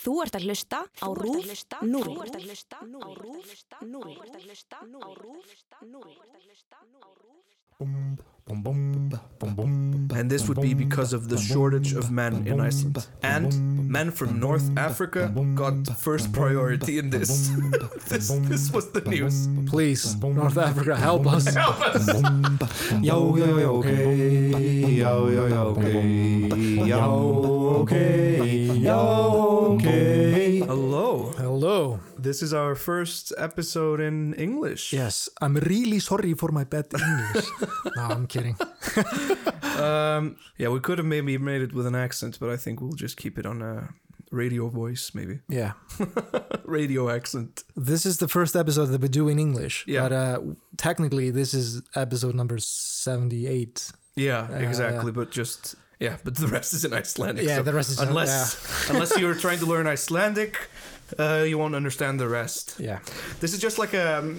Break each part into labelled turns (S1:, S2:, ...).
S1: Þú ert að hlusta á RÚV 0.
S2: And this would be because of the shortage of men in Iceland. And men from North Africa got first priority in this. this, this was the news.
S3: Please, North Africa, help us
S2: Help us!
S4: Já, já, já, ok Já, já, já, ok Já, ok Já, ok
S2: Hello.
S3: Hello
S2: This is our first episode in English.
S3: Yes, I'm really sorry for my bad English No, I'm kidding
S2: Um, yeah, we could have maybe made it with an accent, but I think we'll just keep it on a radio voice, maybe.
S3: Yeah,
S2: radio accent.
S3: this is the first episode that we do in English
S2: Yeah.
S3: But uh, technically this is episode number 78
S2: Yeah,
S3: Yeah,
S2: exactly. But just yeah, but the rest is in Icelandic.
S3: Yeah,
S2: so
S3: the rest is-
S2: unless unless you're trying to learn Icelandic, uh, you won't understand the rest.
S3: Yeah
S2: This is just like a um,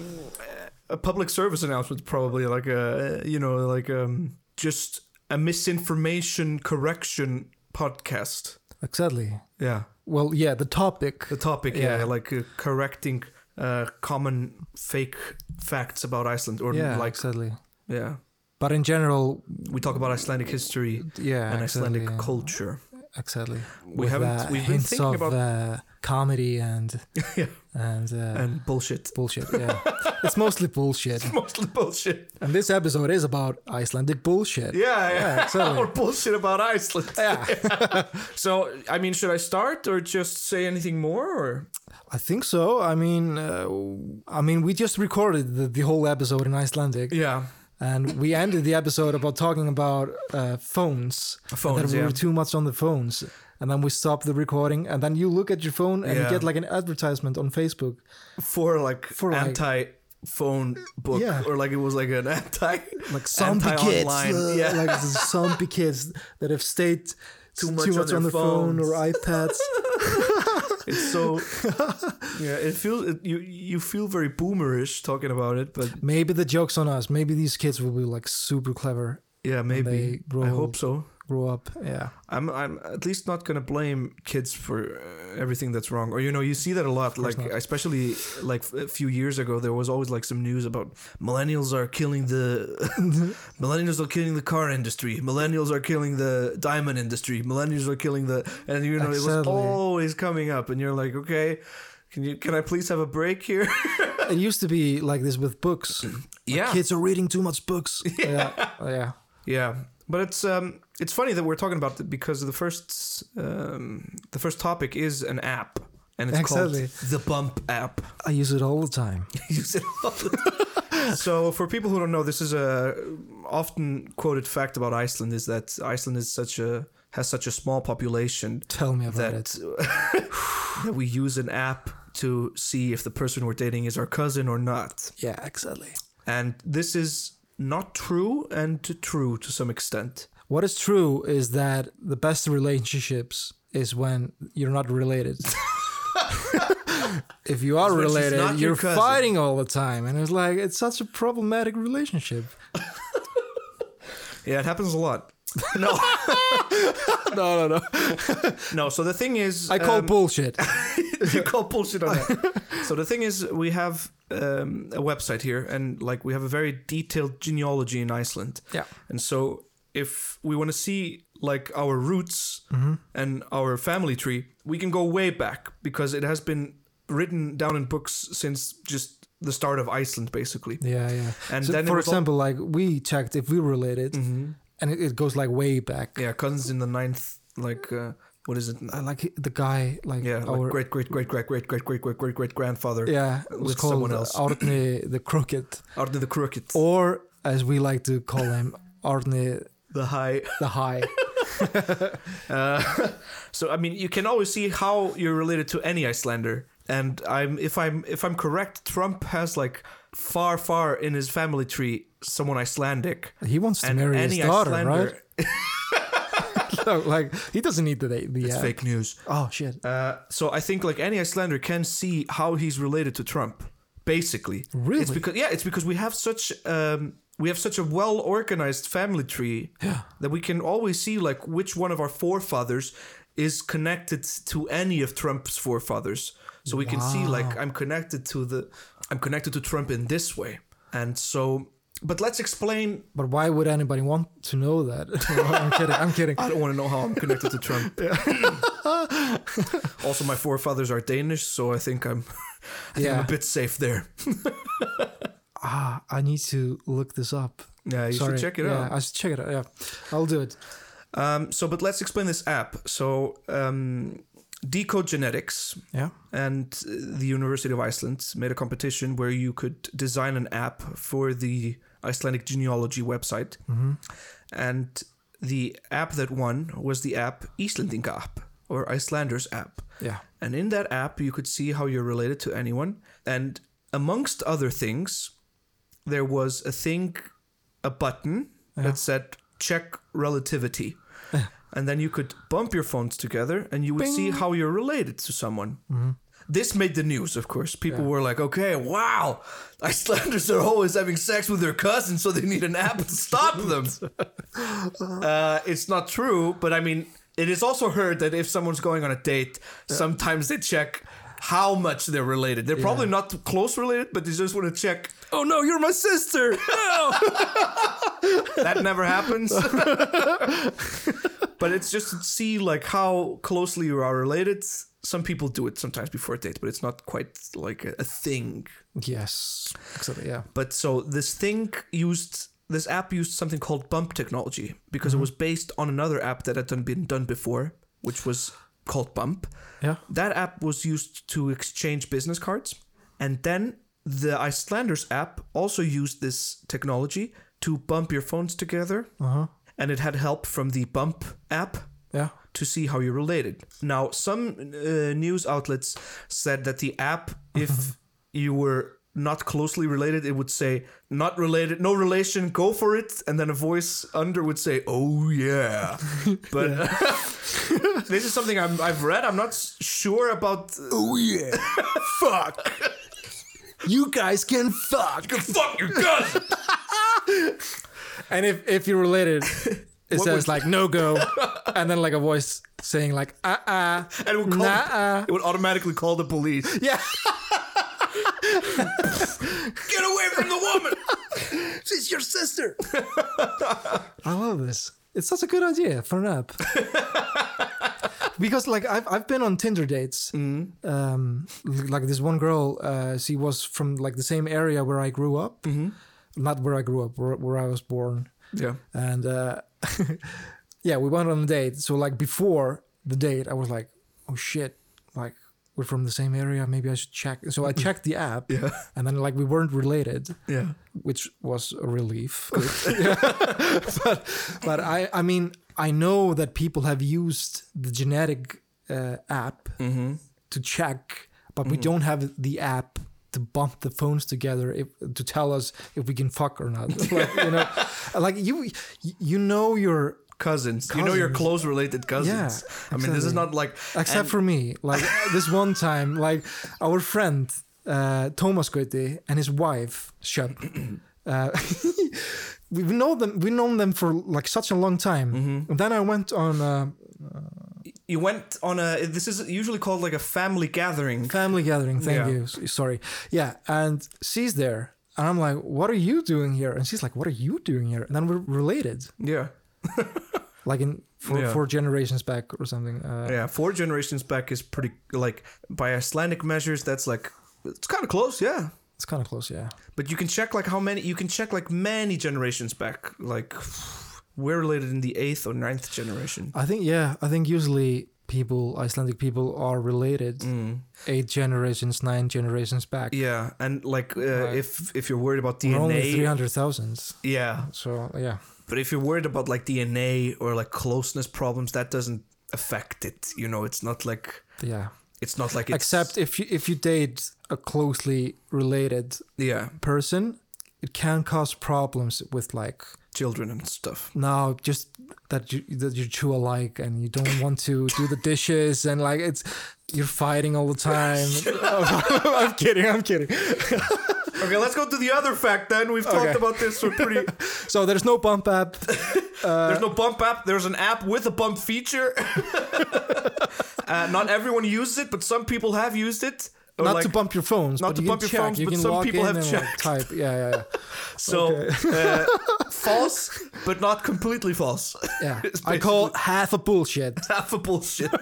S2: a public service announcement, probably like a you know like um just a misinformation correction podcast.
S3: Exactly
S2: Yeah,
S3: Well, yeah, the topic
S2: the topic. Yeah,
S3: Yeah.
S2: like uh, correcting. Uh, common fake facts about Iceland, or
S3: Yeah,
S2: like,
S3: exactly
S2: yeah,
S3: But in general,
S2: we talk about Icelandic history
S3: yeah,
S2: and
S3: exactly,
S2: Icelandic
S3: yeah.
S2: culture.
S3: Exactly.
S2: We haven't-
S3: uh,
S2: we've been
S3: hints
S2: thinking
S3: of,
S2: about-
S3: uh, comedy and
S2: Yeah.
S3: and, uh,
S2: and bullshit.
S3: bullshit. Yeah, it's mostly bullshit.
S2: Mostly bullshit.
S3: And this episode is about Icelandic bullshit.
S2: Yeah, yeah.
S3: exactly.
S2: or bullshit about Iceland. Yeah. so, I mean, should I start or just say anything more? Or
S3: I think so. I mean, uh, I mean, we just recorded the, the whole episode in Icelandic,
S2: yeah,
S3: and we ended the episode about talking about uh, phones. and
S2: Phones,
S3: That we
S2: yeah.
S3: were too much on the phones. And then we stopped the recording, and then you look at your phone and
S2: Yeah.
S3: you get like an advertisement on Facebook.
S2: for like
S3: For, like-
S2: anti-phone book,
S3: Yeah.
S2: or like it was like an anti,
S3: like zombie kids,
S2: anti-online.
S3: uh,
S2: yeah.
S3: like the zombie kids that have stayed too much, on, their phone or iPads.
S2: it's so. yeah, it feels it, you you feel very boomerish talking about it, but
S3: Maybe the joke's on us. Maybe these kids will be like super clever,
S2: yeah, maybe
S3: they grow
S2: I hope
S3: old.
S2: so.
S3: grow up. Yeah,
S2: I'm I'm at least not gonna blame kids for uh, everything that's wrong. Or you know, you see that a lot. Like especially like f- a few years ago, there was always like some news about millennials are killing the millennials are killing the car industry. Millennials are killing the diamond industry. Millennials are killing the and you know it was
S3: Exactly.
S2: always coming up, and you're like, okay, can you can I please have a break here?
S3: it used to be like this with books.
S2: yeah,
S3: Kids are reading too much books. Yeah, yeah,
S2: Yeah, but it's um it's funny that we're talking about it because the first um the first topic is an app and it's
S3: Exactly.
S2: called the Bump app.
S3: I use it all the time.
S2: Use it all the time. so for people who don't know, this is a often quoted fact about Iceland is that Iceland is such a has such a small population
S3: Tell me about
S2: that
S3: it.
S2: that we use an app to see if the person we're dating is our cousin or not.
S3: Yeah, exactly.
S2: And this is not true and true to some extent.
S3: What is true is that the best relationships is when you're not related. if you are
S2: When she's
S3: related,
S2: not your
S3: you're
S2: cousin.
S3: fighting all the time, and it's like it's such a problematic relationship.
S2: Yeah, it happens a lot. No.
S3: No, no, no.
S2: No, so the thing is,
S3: I call
S2: um,
S3: bullshit.
S2: you call bullshit on that. so the thing is, we have um, a website here, and like we have a very detailed genealogy in Iceland.
S3: Yeah.
S2: And so if we want to see like our roots
S3: Mm-hmm.
S2: and our family tree, we can go way back because it has been written down in books since just the start of Iceland, basically.
S3: Yeah, yeah.
S2: And
S3: So,
S2: then it
S3: for
S2: was all- Mm-hmm.
S3: example, like we checked if we were related, and it, it goes like way back.
S2: Yeah, cousins in the ninth, like uh, what is it?
S3: I Like the guy, like
S2: Yeah,
S3: our
S2: like great, great, great, great, great, great, great, great, great, great grandfather.
S3: yeah, it was
S2: with
S3: called
S2: someone else.
S3: Arne the Crooked,
S2: Arne the Crooked,
S3: or as we like to call him, Arne
S2: the high.
S3: the High.
S2: So I mean, you can always see how you're related to any Icelander. And I'm if I'm if I'm correct, Trump has like far far in his family tree someone Icelandic.
S3: He wants to
S2: And
S3: marry his
S2: any
S3: daughter, right?
S2: Icelander,
S3: no, like he doesn't need the the
S2: it's
S3: uh,
S2: fake news.
S3: Oh shit!
S2: Uh, so I think like any Icelander can see how he's related to Trump. Basically,
S3: Really?
S2: it's because yeah, it's because we have such um, we have such a well organized family tree that we can always see like which one of our forefathers is connected to any of Trump's forefathers. So we can see like I'm connected to the I'm connected to Trump in this way. And so but let's explain
S3: But why would anybody want to know that? No, I'm kidding. I'm kidding.
S2: I don't want to know how I'm connected to Trump. also my forefathers are Danish, so I think I'm I think I'm
S3: Yeah.
S2: a bit safe there.
S3: Ah, I need to look this up.
S2: Yeah, you
S3: Sorry.
S2: should check it
S3: yeah,
S2: out.
S3: I should check it out. Yeah, I'll do it.
S2: Um, so, but let's explain this app. So, um, Decode Genetics
S3: Yeah.
S2: and uh, the University of Iceland made a competition where you could design an app for the Icelandic genealogy website.
S3: Mm-hmm.
S2: And the app that won was the app Icelandinga app or Icelanders app.
S3: Yeah.
S2: And in that app, you could see how you're related to anyone. And amongst other things, there was a thing, a button that said check relativity. and then you could bump your phones together and you would see how you're related to someone. This made the news, of course. People were like, okay, wow, Icelanders are always having sex with their cousins, so they need an app to stop them. Uh, it's not true, but I mean, it is also heard that if someone's going on a date, sometimes they check how much they're related. They're probably not close related, but they just want to check. Oh no, you're my sister. No. that never happens. but it's just to see like how closely you are related. Some people do it sometimes before a date, but it's not quite like a, a thing.
S3: Yes. Exactly. Yeah.
S2: But so this thing used this app used something called bump technology because it was based on another app that had done, been done before, which was called Bump.
S3: Yeah.
S2: That app was used to exchange business cards, and then the Icelanders app also used this technology to bump your phones together,
S3: Uh huh.
S2: and it had help from the Bump app
S3: Yeah.
S2: to see how you're related. Now, some uh, news outlets said that the app, if you were not closely related, it would say, not related, no relation, go for it. And then a voice under would say, oh yeah. But this is something I'm, I've read. I'm not s- sure about. uh,
S4: Oh yeah. Fuck. You guys can fuck.
S2: Fuck your cousin!
S3: And if if you're related, it says like no go, and then like a voice saying like uh uh
S2: and it would, call,
S3: nah uh
S2: it would automatically call the police.
S3: yeah
S2: Get away from the woman!
S4: She's your sister.
S3: I love this. It's such a good idea for an app. because like I've I've been on Tinder dates.
S2: Mm.
S3: Um, l- like this one girl, uh, she was from like the same area where I grew up,
S2: Mm-hmm.
S3: not where I grew up, where, where I was born,
S2: Yeah.
S3: and uh, yeah, we went on a date. So like before the date, I was like, oh shit, like we're from the same area. Maybe I should check. So I checked the app,
S2: Mm-hmm. Yeah.
S3: and then like we weren't related
S2: Yeah.
S3: which was a relief. but but I I mean I know that people have used the genetic uh, app to check, but we don't have the app to bump the phones together if, to tell us if we can fuck or not. Like, you know, like you you know your
S2: Cousins. You know your
S3: Cousins.
S2: close related cousins. I mean, this is
S3: exactly.
S2: not like.
S3: except for me like this one time like our friend uh, thomas Goethe and his wife Shep, uh, we we know them we known them for like such a long time
S2: Mm-hmm.
S3: and then i went on a
S2: you went on a this is usually called like a family gathering
S3: family gathering thank
S2: Yeah.
S3: you S- sorry yeah and she's there and i'm like what are you doing here and she's like what are you doing here and then we're related
S2: yeah
S3: like in four,
S2: Yeah.
S3: four generations back or something uh,
S2: yeah four generations back is pretty like by icelandic measures that's like it's kind of close yeah
S3: it's kind of close yeah
S2: but you can check like how many you can check like many generations back like we're related in the eighth or ninth generation
S3: I think yeah, I think usually people Icelandic people are related eight generations, nine generations back.
S2: Mm. yeah and like uh, if if you're worried about
S3: We're only three
S2: dna
S3: hundred thousand.
S2: yeah
S3: So yeah.
S2: but if you're worried about like dna or like closeness problems that doesn't affect it you know it's not like
S3: Yeah.
S2: it's not like it's,
S3: Except if you if you date a closely related
S2: yeah
S3: person, it can cause problems with like
S2: children and stuff
S3: now just that you that you're too alike and you don't want to do the dishes and like it's you're fighting all the time. I'm kidding, I'm kidding.
S2: Okay, let's go to the other fact then. We've talked
S3: Okay.
S2: about this for pretty.
S3: So there's no bump app.
S2: there's no bump app. There's an app with a bump feature. uh, not everyone uses it, but some people have used it. Or
S3: not
S2: like-
S3: to bump your phones.
S2: not
S3: but
S2: to
S3: you
S2: bump
S3: can
S2: your
S3: check.
S2: phones,
S3: you
S2: but
S3: can
S2: some
S3: log
S2: people
S3: in
S2: have
S3: and, like, type. Yeah, yeah,
S2: So uh, false, but not completely false.
S3: yeah. yeah.
S2: It's
S3: I call half a bullshit.
S2: half a bullshit.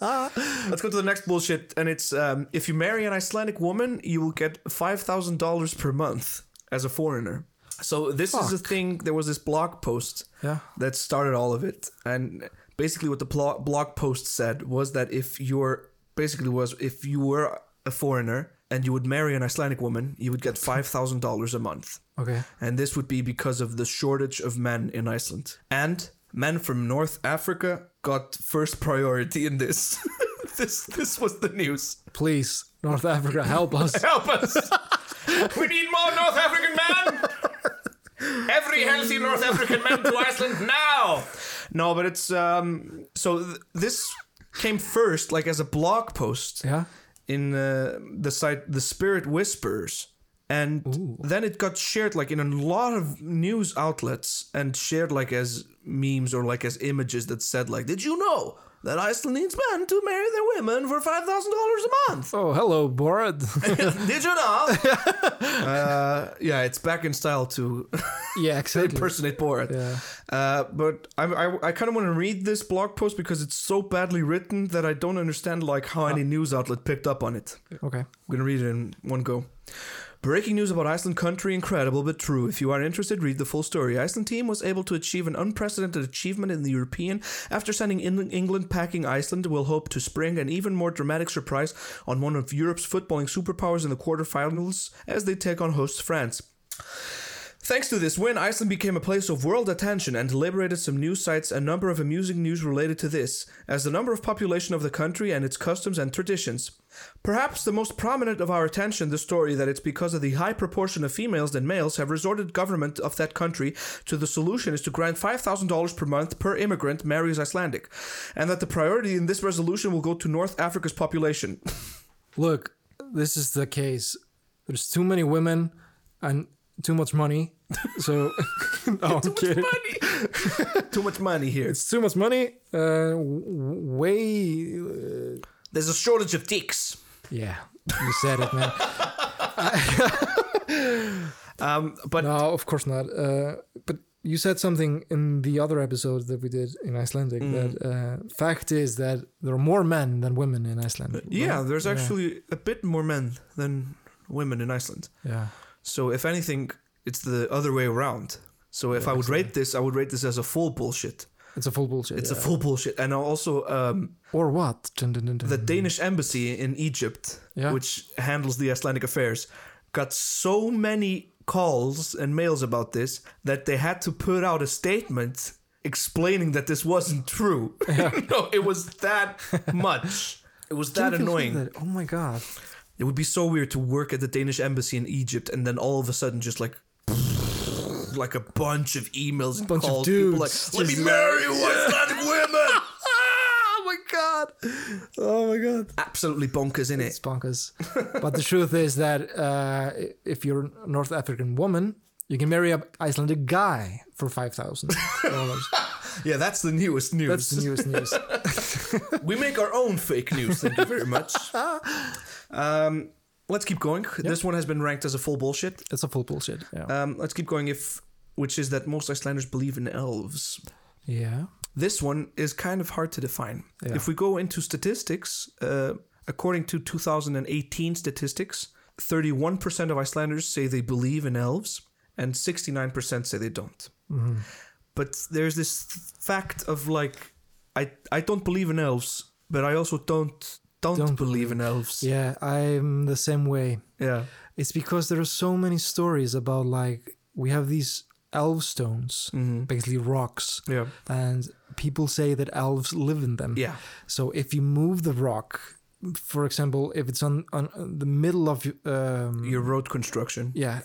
S2: Let's go to the next bullshit, and it's um, if you marry an Icelandic woman, you will get five thousand dollars per month as a foreigner. So this is a thing. There was this blog post
S3: Yeah.
S2: that started all of it, and basically what the plo- blog post said was that if you're basically was if you were a foreigner and you would marry an Icelandic woman, you would get five thousand dollars a month.
S3: Okay.
S2: And this would be because of the shortage of men in Iceland. And men from North Africa got first priority in this. this this was the news.
S3: Please, North Africa, help us.
S2: Help us! we need more North African men! Every healthy North African man to Iceland now! No, but it's um so th- this came first like as a blog post
S3: Yeah.
S2: in uh, the site The Spirit Whispers. And then it got shared like in a lot of news outlets and shared like as memes or like as images that said like, "Did you know that Iceland needs men to marry their women for five thousand dollars a month?"
S3: Oh, hello, Borat.
S2: Did you know? uh, yeah, it's back in style to
S3: yeah, exactly.
S2: impersonate Borat.
S3: Yeah.
S2: Uh, but I, I, I kind of want to read this blog post because it's so badly written that I don't understand like how any news outlet picked up on it.
S3: Okay.
S2: I'm gonna read it in one go. Breaking news about Iceland country incredible but true. If you are interested, read the full story. Iceland team was able to achieve an unprecedented achievement in the European after sending Eng- England packing Iceland. Will hope to spring an even more dramatic surprise on one of Europe's footballing superpowers in the quarterfinals as they take on hosts France. Thanks to this win, Iceland became a place of world attention and liberated some news sites a number of amusing news related to this, as the number of population of the country and its customs and traditions. Perhaps the most prominent of our attention the story that it's because of the high proportion of females than males have resorted government of that country to the solution is to grant $5,000 per month per immigrant marries Icelandic, and that the priority in this resolution will go to North Africa's population.
S3: Look, this is the case. There's too many women and too much money. So, no, I'm kidding.
S2: Too much money here.
S3: It's too much money. Uh, w- way.
S2: There's a shortage of dicks.
S3: Yeah, you said it, man.
S2: Um, but
S3: No, of course not. Uh, but you said something in the other episode that we did in Icelandic.
S2: Mm.
S3: That uh, fact is that there are more men than women in Iceland.
S2: Yeah,
S3: right?
S2: there's actually a bit more men than women in Iceland.
S3: yeah.
S2: So if anything, it's the other way around. So if I would rate this, I would rate this as a full bullshit.
S3: It's a full bullshit.
S2: It's a full bullshit. And also, um,
S3: or what? Dun, dun, dun, dun.
S2: the Danish embassy in Egypt,
S3: Mm-hmm. Yeah.
S2: which handles the Icelandic affairs, got so many calls and mails about this that they had to put out a statement explaining that this wasn't true. no, it was that much. It was that
S3: Didn't you think
S2: annoying.
S3: that- oh my god.
S2: It would be so weird to work at the Danish embassy in Egypt and then all of a sudden just like like a bunch of emails and
S3: Bunch of
S2: calls.
S3: dudes
S2: People like, let me marry you, Icelandic women.
S3: Oh my god. Oh my god.
S2: Absolutely bonkers, in
S3: It's
S2: it.
S3: bonkers. but the truth is that uh, if you're a North African woman, you can marry an Icelandic guy for five thousand dollars.
S2: Yeah, that's the newest news.
S3: That's the newest news.
S2: we make our own fake news. Thank you very much. Um, let's keep going. This one has been ranked as a full bullshit.
S3: It's a full bullshit. Yeah.
S2: Um, let's keep going. If which is that most Icelanders believe in elves.
S3: yeah.
S2: this one is kind of hard to define.
S3: Yeah.
S2: If we go into statistics, uh, according to 2018 statistics, 31% of Icelanders say they believe in elves, and 69% say they don't.
S3: Mm-hmm.
S2: But there's this fact of like, I I don't believe in elves, but I also don't don't,
S3: Don't
S2: believe in elves.
S3: Yeah, I'm the same way.
S2: Yeah.
S3: It's because there are so many stories about like we have these elf stones, basically rocks,
S2: Mm-hmm. Yeah.
S3: and people say that elves live in them.
S2: Yeah.
S3: So if you move the rock, for example, if it's on on the middle of um,
S2: Your road construction.
S3: yeah,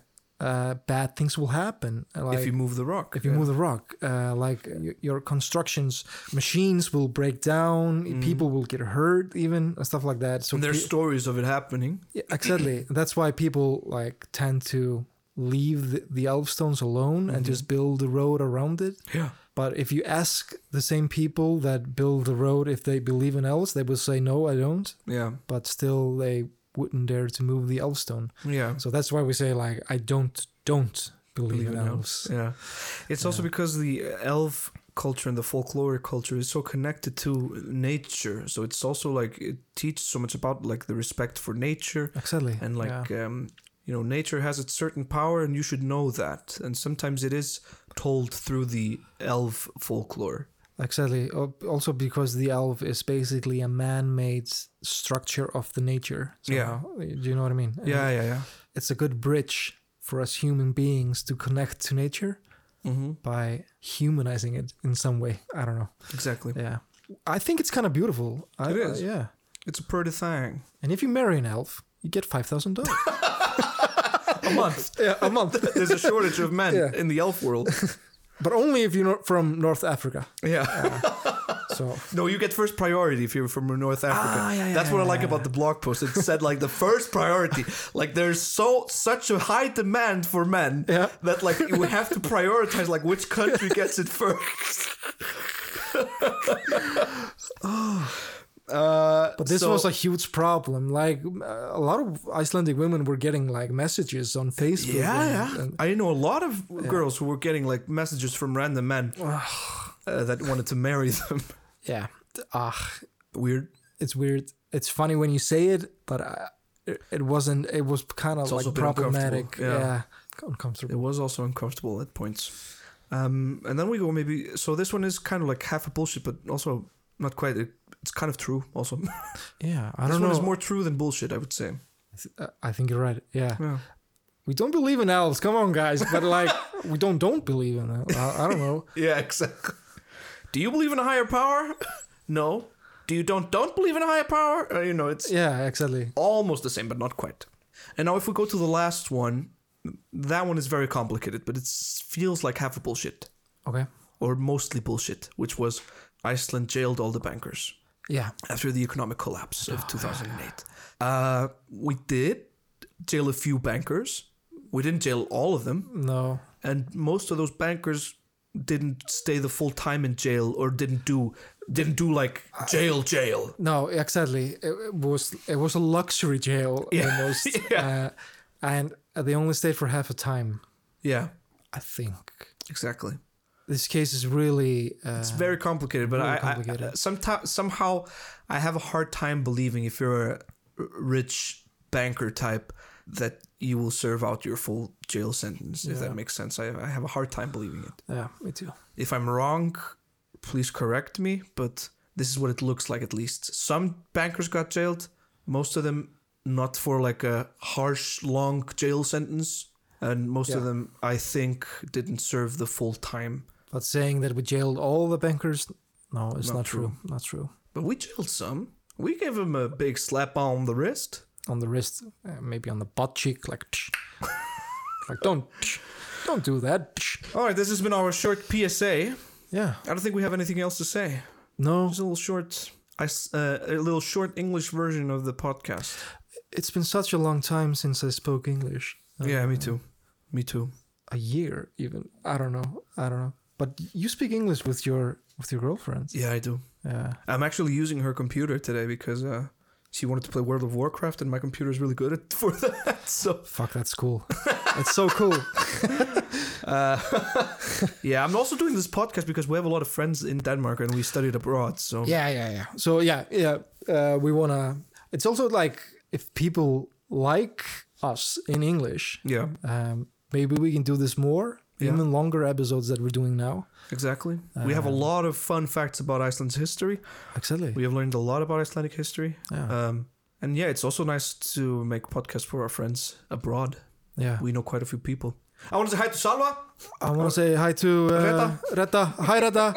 S3: uh, bad things will happen. Like,
S2: if you move the rock.
S3: if you
S2: Yeah.
S3: move the rock, uh, like y- your constructions, machines will break down, people will get hurt, even and stuff like that. So
S2: Mm. And there's
S3: pe-
S2: stories of it happening.
S3: yeah, exactly. That's why people like tend to leave the, the elf stones alone and just build a road around it.
S2: Mm-hmm. Yeah.
S3: But if you ask the same people that build the road if they believe in elves, they will say, no, I don't.
S2: Yeah.
S3: But still, they wouldn't dare to move the elf stone.
S2: Yeah.
S3: So that's why we say, like, I don't, don't believe,
S2: Believe
S3: in
S2: in
S3: elves.
S2: Yeah. It's also because the elf culture and the folklore culture is so connected to nature. So it's also like it teaches so much about like the respect for nature
S3: Exactly.
S2: and like um you know nature has its certain power and you should know that. And sometimes it is told through the elf folklore.
S3: Exactly. Al- Also because the elf is basically a man-made structure of the nature.
S2: Yeah.
S3: somehow. Do you know what I mean? And
S2: Yeah, yeah, yeah.
S3: It's a good bridge for us human beings to connect to nature
S2: Mm-hmm.
S3: by humanizing it in some way. I don't know.
S2: Exactly.
S3: Yeah. I think it's kind of beautiful. I,
S2: It is.
S3: I- yeah.
S2: It's a pretty thing.
S3: And if you marry an elf, you get five thousand dollars
S2: A month.
S3: yeah, a month,
S2: There's a shortage of men
S3: Yeah.
S2: in the elf world.
S3: but only if you're not from North Africa.
S2: Yeah.
S3: So
S2: No, you get first priority if you're from North Africa.
S3: Ah, yeah, yeah,
S2: That's what I
S3: yeah,
S2: like
S3: yeah.
S2: about the blog post. It said like the first priority. Like there's so such a high demand for men
S3: Yeah.
S2: that like we have to prioritize like which country gets it first. Uh,
S3: But this
S2: so-
S3: was a huge problem. Like uh, a lot of Icelandic women were getting like messages on Facebook.
S2: yeah,
S3: and-
S2: yeah.
S3: and-
S2: I know a lot of girls who were getting like messages from random men uh, that wanted to marry them.
S3: yeah. Ah,
S2: Weird.
S3: it's weird. It's funny when you say it, but I, it, it wasn't. It was kind of
S2: It's also
S3: like
S2: a bit uncomfortable,
S3: problematic.
S2: yeah.
S3: Yeah,
S2: It
S3: uncomfortable.
S2: was also uncomfortable at points. Um, and then we go maybe. So this one is kind of like half a bullshit, but also not quite. It, it's kind of true. Also,
S3: Yeah, I
S2: this
S3: don't
S2: one
S3: know.
S2: is more true than bullshit. I would say.
S3: Uh, I think you're right. Yeah,
S2: Yeah.
S3: we don't believe in elves. Come on, guys. But like, we don't don't believe in elves. I, I don't know.
S2: Yeah. Exactly. Do you believe in a higher power? no. Do you don't don't believe in a higher power? Uh, you know, it's
S3: Yeah, exactly.
S2: almost the same, but not quite. And now if we go to the last one, that one is very complicated, but it feels like half a bullshit
S3: Okay.
S2: or mostly bullshit, which was Iceland jailed all the bankers.
S3: Yeah.
S2: after the economic collapse of 2008. Uh, we did jail a few bankers. We didn't jail all of them.
S3: No.
S2: And most of those bankers didn't stay the full time in jail or didn't do didn't do like jail jail.
S3: No, exactly. It, it was it was a luxury jail almost, uh, and they only stayed for half a time.
S2: Yeah,
S3: I think
S2: exactly.
S3: this case is really uh,
S2: It's very complicated, but I, I
S3: complicated.
S2: sometimes somehow I have a hard time believing if you're a r- rich banker type that you will serve out your full jail sentence. If
S3: Yeah.
S2: that makes sense, I, I have a hard time believing it.
S3: yeah, me too.
S2: If I'm wrong, please correct me, but this is what it looks like at least. Some bankers got jailed, most of them not for like a harsh, long jail sentence, and most of
S3: Yeah.
S2: them, I think, didn't serve the full time.
S3: But saying that we jailed all the bankers, no, it's
S2: Not
S3: not, true. Not true.
S2: But we jailed some. We gave them a big slap on the wrist.
S3: On the wrist, uh, maybe on the butt cheek, like, tsh. like don't, tsh. don't do that. tsh.
S2: All right, this has been our short PSA.
S3: Yeah,
S2: I don't think we have anything else to say.
S3: no,
S2: Just a little short, I s- uh, a little short English version of the podcast.
S3: it's been such a long time since I spoke English.
S2: yeah, me too. Me too.
S3: a year even i don't know i don't know but you speak english with your with your girlfriend
S2: Yeah, I do.
S3: yeah
S2: I'm actually using her computer today because uh, she wanted to play World of Warcraft, and my computer is really good at, for that. So
S3: fuck that's cool it's so cool
S2: yeah, I'm also doing this podcast because we have a lot of friends in Denmark and we studied abroad. So
S3: yeah yeah yeah so yeah yeah uh, we want to it's also like if people like us in english
S2: yeah,
S3: um, maybe we can do this more
S2: Yeah.
S3: even longer episodes that we're doing now
S2: exactly. we
S3: Uh.
S2: have a lot of fun facts about Iceland's history.
S3: exactly
S2: We have learned a lot about Icelandic history.
S3: yeah
S2: Um, and yeah, it's also nice to make podcasts for our friends abroad.
S3: yeah
S2: We know quite a few people. I want to say hi to Salva.
S3: i want to say hi to uh,
S2: Retta.
S3: Retta. hi Retta.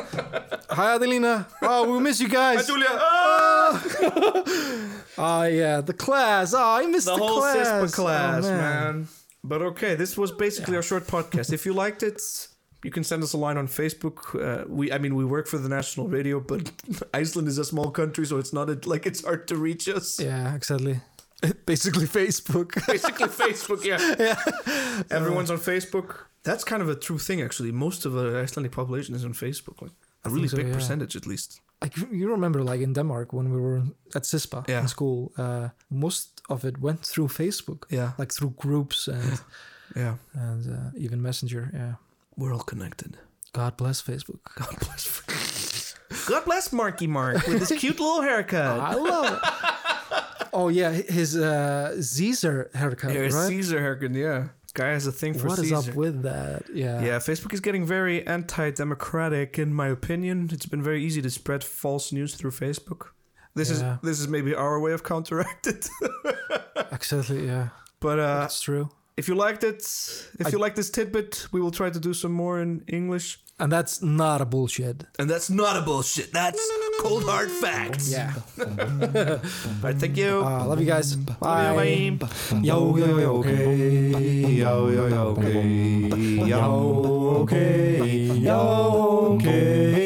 S3: hi adelina oh we miss you guys
S2: Julia.
S3: Oh yeah, the class. Oh, I missed the,
S2: the whole
S3: class.
S2: CISPA class,
S3: Oh,
S2: man. But okay, this was basically our short podcast. if you liked it, you can send us a line on Facebook. Uh, we, I mean, we work for the national radio, but Iceland is a small country, so it's not a, like it's hard to reach us.
S3: Yeah, exactly. Basically, Facebook.
S2: Basically, Facebook. Yeah. Everyone's on Facebook. that's kind of a true thing, actually. Most of the Icelandic population is on Facebook, like a
S3: I
S2: really
S3: think so,
S2: big
S3: yeah.
S2: percentage, at least.
S3: like you remember like in denmark when we were at cispa
S2: Yeah.
S3: in school uh, most of it went through facebook
S2: Yeah,
S3: like through groups and
S2: yeah,
S3: and uh, even messenger yeah
S2: we're all connected.
S3: god bless facebook
S2: God bless. God bless Marky Mark with his cute little haircut.
S3: i love it oh yeah his uh caesar haircut
S2: Yeah, his
S3: right
S2: Caesar haircut. Yeah, guy has a thing for
S3: What is
S2: Caesar.
S3: up with that yeah
S2: Yeah, Facebook is getting very anti-democratic, in my opinion. It's been very easy to spread false news through Facebook. This
S3: Yeah.
S2: is this is maybe our way of counteract it.
S3: exactly yeah
S2: but uh,
S3: that's true
S2: if you liked it, if
S3: I-
S2: you like this tidbit, we will try to do some more in English.
S3: and that's not a bullshit
S2: And that's not a bullshit. That's cold hard facts.
S3: yeah
S2: All right, thank you.
S3: uh, love you guys
S2: Bye.
S3: bye.
S4: Yo, yo, yo, okay. Yo, yo, yo, okay. Yo, okay. Yo, okay.